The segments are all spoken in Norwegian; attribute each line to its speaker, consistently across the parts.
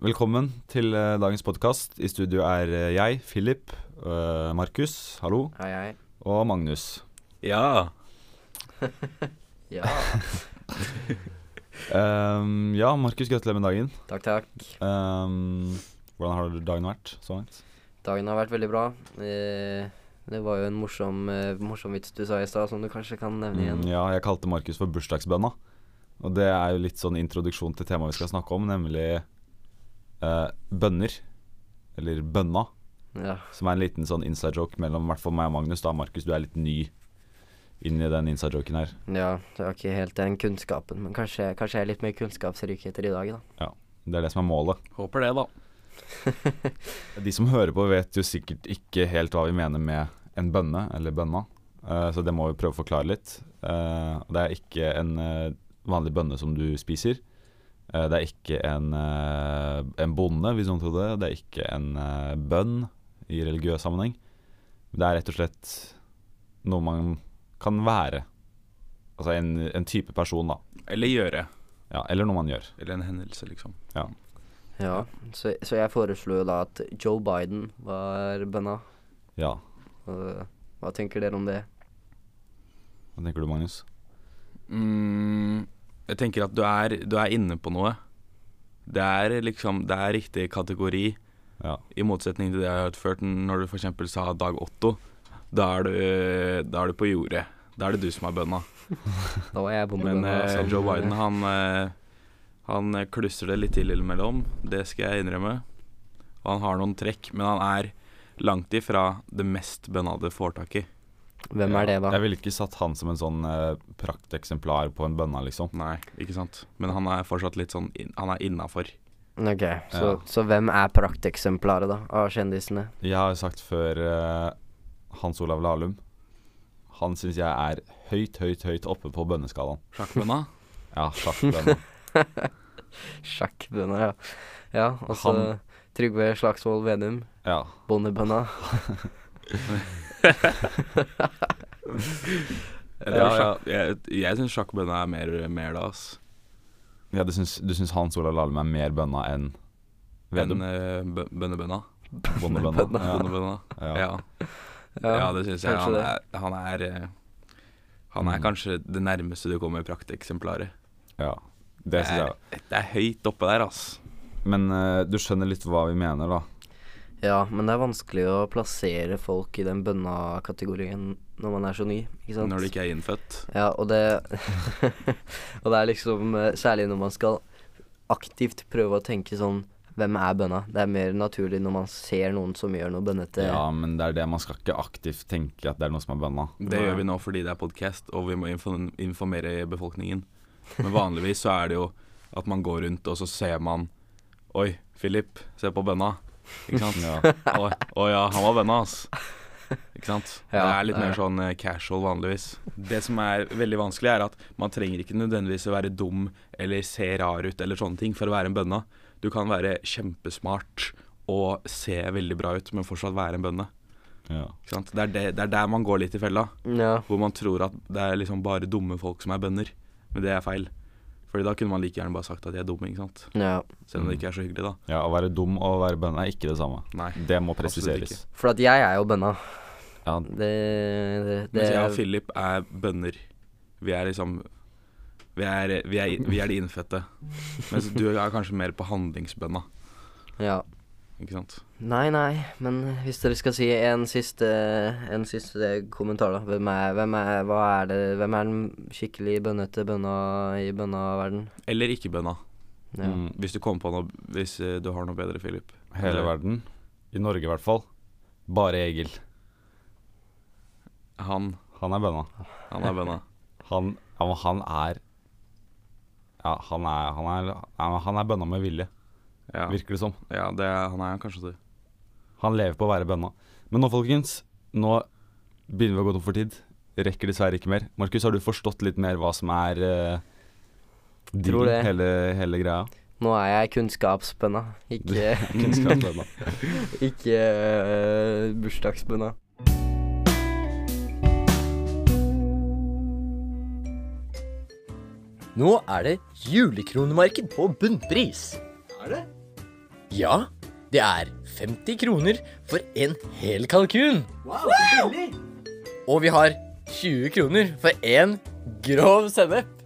Speaker 1: Velkommen til eh, dagens podkast. I studio er eh, jeg, Philip, eh, Markus, hallo,
Speaker 2: Hei, hei.
Speaker 1: og Magnus.
Speaker 3: Ja.
Speaker 2: Ja,
Speaker 1: Ehm, ja, Markus, gratulerer med dagen.
Speaker 2: takk, takk.
Speaker 1: Ehm, hvordan har dagen vært så langt?
Speaker 2: Dagen har vært veldig bra. Eh, det var jo en morsom, eh, morsom vits du sa i stad, som du kanskje kan nevne igjen.
Speaker 1: Mm, ja, jeg kalte Markus for bursdagsbønna. Og det er jo litt sånn introduksjon til temaet vi skal snakke om, nemlig eh, bønner. Eller bønna,
Speaker 2: Ja.
Speaker 1: som er en liten sånn inside joke mellom i hvert fall meg og Magnus. Da, Markus, du er litt ny inn i den inside joken her.
Speaker 2: ja, jeg har ikke helt den kunnskapen, men kanskje, kanskje jeg er litt mer kunnskapsrik etter i dag, da.
Speaker 1: Det er det som er målet.
Speaker 3: Håper det, da.
Speaker 1: De som hører på vet jo sikkert ikke helt hva vi mener med en bønne, eller bønna. Eh, så det må vi prøve å forklare litt. Eh, og det er ikke en eh, vanlig bønne som du spiser. Eh, det er ikke en, eh, en bonde, hvis noen trodde det. Det er ikke en eh, bønn i religiøs sammenheng. Det er rett og slett noe man kan være. Altså en, en type person, da.
Speaker 3: Eller gjøre.
Speaker 1: Ja, eller noe man gjør.
Speaker 3: Eller en hendelse, liksom.
Speaker 2: Ja, så, så jeg foreslo jo da at Joe Biden var bønna.
Speaker 1: Ja.
Speaker 2: Og Hva tenker dere om det?
Speaker 1: Hva tenker du, Magnus?
Speaker 3: Mm, jeg tenker at du er, du er inne på noe. Det er liksom Det er riktig kategori,
Speaker 1: Ja.
Speaker 3: i motsetning til det jeg har hørt før, når du f.eks. sa Dag Otto. Da er, du, da er du på jordet. Da er det du som er bønna.
Speaker 2: Da var jeg
Speaker 3: Men
Speaker 2: bombebønna.
Speaker 3: eh,
Speaker 2: som-
Speaker 3: Joe Biden, han, eh, han eh, klusser det litt til innimellom. Det skal jeg innrømme. Og han har noen trekk, men han er langt ifra det mest bønnade får tak i.
Speaker 2: Hvem er
Speaker 1: Ja,
Speaker 2: det, da?
Speaker 1: Jeg ville ikke satt han som en sånn eh, prakteksemplar på en bønna, liksom.
Speaker 3: Nei, ikke sant. Men han er fortsatt litt sånn inn- Han er innafor.
Speaker 2: Ok,
Speaker 1: Ja.
Speaker 2: så, så hvem er prakteksemplaret, da, av kjendisene?
Speaker 1: Jeg har jo sagt før eh, Hans Olav Lahlum. Han syns jeg er høyt, høyt, høyt oppe på bønneskalaen.
Speaker 3: Sjakkbønna?
Speaker 1: Ja, sjakk bønna.
Speaker 2: Sjakkbønna, ja. Ja, og så
Speaker 1: Han-
Speaker 2: Trygve Slagsvold Vedum.
Speaker 1: Ja.
Speaker 2: Bondebønna.
Speaker 3: Jeg,
Speaker 1: Ja,
Speaker 3: tror
Speaker 1: ja.
Speaker 3: sjakk- jeg, jeg syns sjakkbønna er mer, mer da, ass.
Speaker 1: ja du, syns, du syns Hans Olav Lahlum er mer bønna enn
Speaker 3: Enn
Speaker 1: Vedum?
Speaker 3: eh, bø- bønnebønna.
Speaker 1: Bondebønna. Ja,
Speaker 3: Bønnebønna. Ja.
Speaker 1: ja.
Speaker 3: Ja. det syns jeg. Han
Speaker 2: kanskje
Speaker 3: er, han er eh, Han er
Speaker 1: Mm.
Speaker 3: kanskje det nærmeste du kommer prakteksemplaret.
Speaker 1: ja. Det syns jeg.
Speaker 3: er, det er høyt oppe der, ass.
Speaker 1: Men eh, du skjønner litt hva vi mener, da.
Speaker 2: Ja, men det er vanskelig å plassere folk i den bønna-kategorien når man er så ny, ikke sant?
Speaker 3: Når du ikke er innfødt.
Speaker 2: Ja, og det Og det er liksom eh, Særlig når man skal aktivt prøve å tenke sånn Hvem er bønna? Det er mer naturlig når man ser noen som gjør noe bønnete.
Speaker 1: Ja, men det er det. Man skal ikke aktivt tenke at det er noe som er bønna.
Speaker 3: Det
Speaker 2: Nei.
Speaker 3: gjør vi nå fordi det er podkast, og vi må info- informere befolkningen. Men vanligvis så er det jo at man går rundt, og så ser man Oi, Philip, se på bønna. Ikke sant?
Speaker 1: Ja.
Speaker 3: Å å ja, han var bønna, ass. Ikke sant? det
Speaker 2: Ja,
Speaker 3: er litt
Speaker 2: det er
Speaker 3: mer
Speaker 2: det.
Speaker 3: sånn eh, casual vanligvis. Det som er veldig vanskelig, er at man trenger ikke nødvendigvis å være dum eller se rar ut eller sånne ting for å være en bønna. Du kan være kjempesmart og se veldig bra ut, men fortsatt være en bønne.
Speaker 1: Ja.
Speaker 3: Ikke sant? Det, er det, det er der man går litt i fella.
Speaker 2: Ja.
Speaker 3: Hvor man tror at det er liksom bare dumme folk som er bønder. Men det er feil. Fordi da kunne man like gjerne bare sagt at de er dumme, ikke sant.
Speaker 2: ja.
Speaker 3: Selv om det
Speaker 1: Mm.
Speaker 3: ikke er så hyggelig, da.
Speaker 1: ja, å være dum og å være bønna er ikke det samme.
Speaker 3: Nei.
Speaker 1: Det må
Speaker 3: Absolutt
Speaker 1: presiseres.
Speaker 2: For at jeg er jo bønna.
Speaker 1: Ja,
Speaker 2: Det, det, det
Speaker 3: Mens jeg og Philip er bønder. Vi er liksom vi er, vi, er, vi er de innfødte. Mens du er kanskje mer på handlingsbønda,
Speaker 2: Ja.
Speaker 3: ikke sant.
Speaker 2: Nei, nei, men hvis dere skal si en siste, en siste kommentar, da. Hvem er, hvem er, hva er det, hvem er den skikkelig bønnete bønna i bønnaverden?
Speaker 3: Eller ikke-bønda.
Speaker 2: Ja.
Speaker 1: Mm,
Speaker 3: Hvis du kommer på noe Hvis eh, du har noe bedre, Philip.
Speaker 1: hele
Speaker 3: Eller-
Speaker 1: verden. I Norge i hvert fall. Bare Egil.
Speaker 3: Han,
Speaker 1: Han er bønna.
Speaker 3: han er bønda.
Speaker 1: Han, ja, men han er Ja, han er, han er, ja, men han er bønna med vilje,
Speaker 3: Ja,
Speaker 1: virker det som.
Speaker 3: ja det er, han er kanskje det.
Speaker 1: Han lever på å være bønna. Men nå, folkens, nå begynner vi å gå tom for tid. Rekker dessverre ikke mer. Markus, har du forstått litt mer hva som er eh, dealen,
Speaker 2: Tror det.
Speaker 1: hele, hele greia?
Speaker 2: Nå er jeg kunnskapsbønna, ikke,
Speaker 1: Kunnskapsbønna.
Speaker 2: ikke øh, bursdagsbønna.
Speaker 4: Nå er det julekronemarked på bunnpris. Er det? Ja, det er 50 kroner for en hel kalkun. Og vi har 20 kroner for en grov sennep.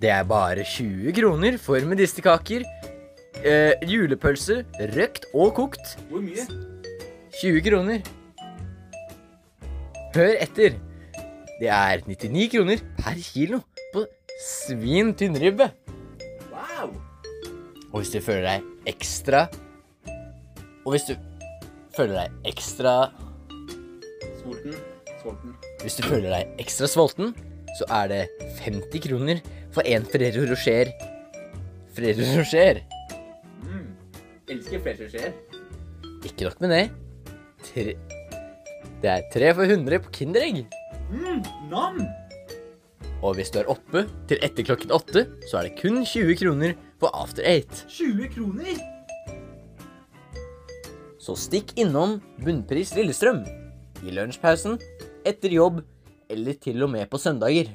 Speaker 4: Det er bare 20 kroner for medisterkaker, eh, julepølse, røkt og kokt.
Speaker 3: Hvor mye?
Speaker 4: 20 kroner. Hør etter. Det er 99 kroner per kilo på svin tynnribbe. Og hvis du føler deg ekstra Og hvis du føler deg ekstra
Speaker 3: Svolten. Svolten.
Speaker 4: Hvis du føler deg ekstra sulten, så er det 50 kroner for en Ferrero Rocher. Ferrero Rocher.
Speaker 3: Elsker flere skjeer.
Speaker 4: Ikke nok med det. Tre Det er tre for 100 på Kinderegg.
Speaker 3: Mm, Nam!
Speaker 4: Og hvis du er oppe til etter klokken åtte, så er det kun 20 kroner på After Eight.
Speaker 3: 20 kroner!
Speaker 4: Så stikk innom Bunnpris Lillestrøm. I lunsjpausen, etter jobb eller til og med på søndager.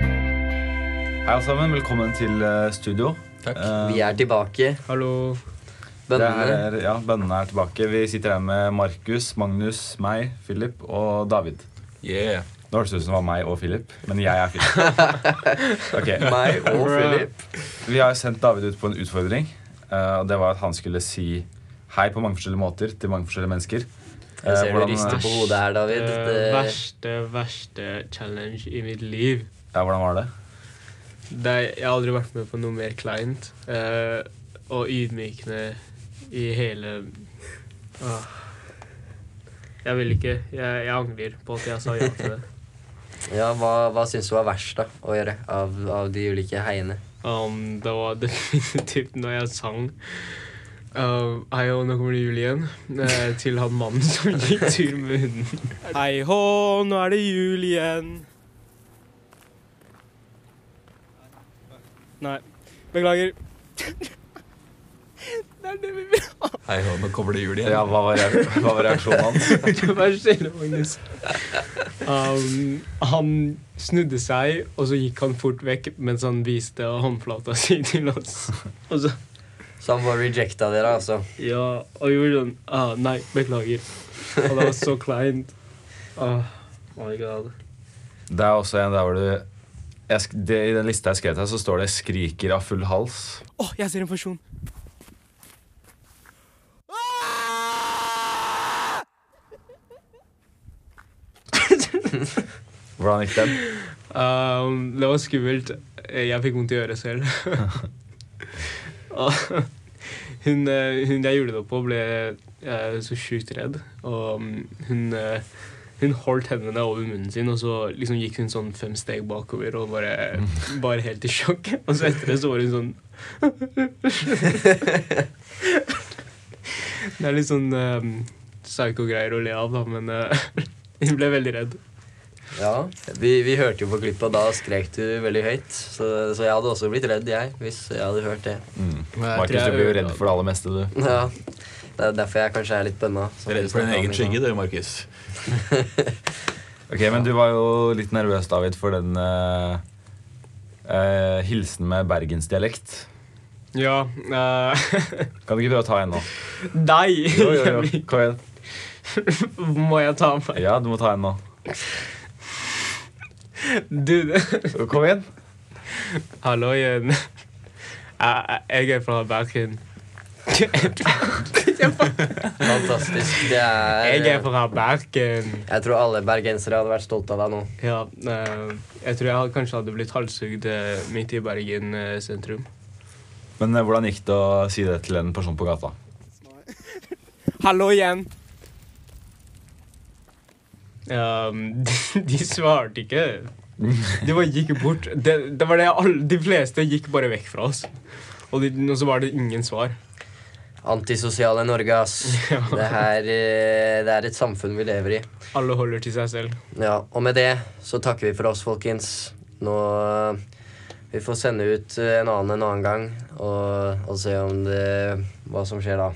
Speaker 1: Hei alle sammen, velkommen til eh, studio.
Speaker 4: Takk.
Speaker 1: Eh,
Speaker 2: Vi er tilbake.
Speaker 3: Hallo.
Speaker 1: det
Speaker 2: Bønnene.
Speaker 1: her er, eh, ja, Bønnene er tilbake. Vi sitter her med Markus, Magnus, meg, Philip og David.
Speaker 3: Yeah.
Speaker 1: Nå hørtes det ut som det var meg og Philip, men jeg er Philip. Ok,
Speaker 2: Meg og Philip.
Speaker 1: Vi har sendt David ut på en utfordring. eh, Og det var at han skulle si hei på mange forskjellige måter til mange forskjellige mennesker. Eh,
Speaker 4: Jeg ser du
Speaker 1: hvordan,
Speaker 4: rister på
Speaker 1: eh,
Speaker 4: hodet her, David.
Speaker 5: Eh,
Speaker 4: Det,
Speaker 5: verste, verste challenge i mitt liv.
Speaker 1: ja, hvordan var det?
Speaker 5: Det, jeg har aldri vært med på noe mer kleint eh, og ydmykende i hele Åh. Jeg vil ikke. Jeg, jeg angrer på at jeg sa ja til det.
Speaker 2: Ja, hva, hva syns du var verst da, å gjøre av, av de ulike heiene?
Speaker 5: Um, det var definitivt når jeg sang um, Hei hå, nå kommer det jul igjen. eh, til han mannen som gikk tur med hunden. Hei hå, nå er det jul igjen. Nei. Beklager. det er det vi vil.
Speaker 3: Hei hå, nå kommer det jul igjen.
Speaker 1: Ja, hva var, re- hva var reaksjonen hans?
Speaker 5: Vær stille, Magnus. Um, han snudde seg, og så gikk han fort vekk mens han viste håndflata si til oss. Og så
Speaker 2: Så han bare rejecta dere, altså.
Speaker 5: Ja, og gjorde sånn ah, Nei, beklager. Og det var så kleint. Ah,
Speaker 1: Oh
Speaker 5: my god.
Speaker 1: Det er også en der hvor du jeg, sk- det, I den lista jeg skrev til, deg, så står det 'skriker av full hals'.
Speaker 5: Å, jeg ser en porsjon.
Speaker 1: Hvordan gikk den?
Speaker 5: Um, det var skummelt. Eh, Jeg fikk vondt i øret selv. Og hun, eh, hun jeg gjorde det på, ble eh, så sjukt redd. Og mm, hun, eh, hun holdt hendene over munnen sin, og så liksom gikk hun sånn fem steg bakover og bare, bare helt i sjokk. Og så etter det så var hun sånn Det er litt sånn um, psyko-greier å le av, da, men eh, hun ble veldig redd.
Speaker 2: Ja, vi, vi hørte jo på klippet, og da skrek du veldig høyt. Så, så jeg hadde også blitt redd, jeg, hvis jeg hadde hørt det.
Speaker 1: Mm.
Speaker 5: jeg
Speaker 1: Markus,
Speaker 5: tror jeg
Speaker 1: du blir jo
Speaker 5: ødela
Speaker 1: redd for det aller meste, du.
Speaker 2: Ja, Det er derfor jeg kanskje er litt bønna. Sånn som
Speaker 6: Redd
Speaker 2: du
Speaker 6: for din
Speaker 2: snakket om
Speaker 6: egen
Speaker 2: i
Speaker 6: skygge,
Speaker 2: stad.
Speaker 6: du, Markus.
Speaker 1: Ok, Men du var jo litt nervøs, David, for den eh, eh, hilsen med bergensdialekt.
Speaker 5: Ja eh,
Speaker 1: Kan du ikke prøve å ta en nå?
Speaker 5: Deg!
Speaker 1: Jo, jo, jo. Kom igjen.
Speaker 5: Må jeg ta meg
Speaker 1: Ja, du må ta en nå.
Speaker 5: Du, det
Speaker 1: Kom igjen.
Speaker 5: Hallo igjen. Jeg, jeg er fra Bergen.
Speaker 2: Fantastisk. Det er
Speaker 5: Jeg er fra Bergen.
Speaker 2: Jeg tror alle bergensere hadde vært stolte av deg nå.
Speaker 5: Ja, eh, jeg tror jeg had- kanskje hadde blitt halshugd eh, midt i Bergen eh, sentrum.
Speaker 1: Men eh, hvordan gikk det å si det til en person på gata?
Speaker 5: Hallo igjen. Um, de, de svarte ikke. De bare gikk bort. Det, det var det alle, De fleste gikk bare vekk fra oss. Og, de, og så var det ingen svar.
Speaker 2: liksom, Antisosiale Norge, ass. Det, her, eh, det er et samfunn vi lever i.
Speaker 5: Alle holder til seg selv.
Speaker 2: Ja, Og med det så takker vi for oss, folkens. Nå eh, Vi får sende ut eh, en annen en annen gang og, og se om det, hva som skjer da.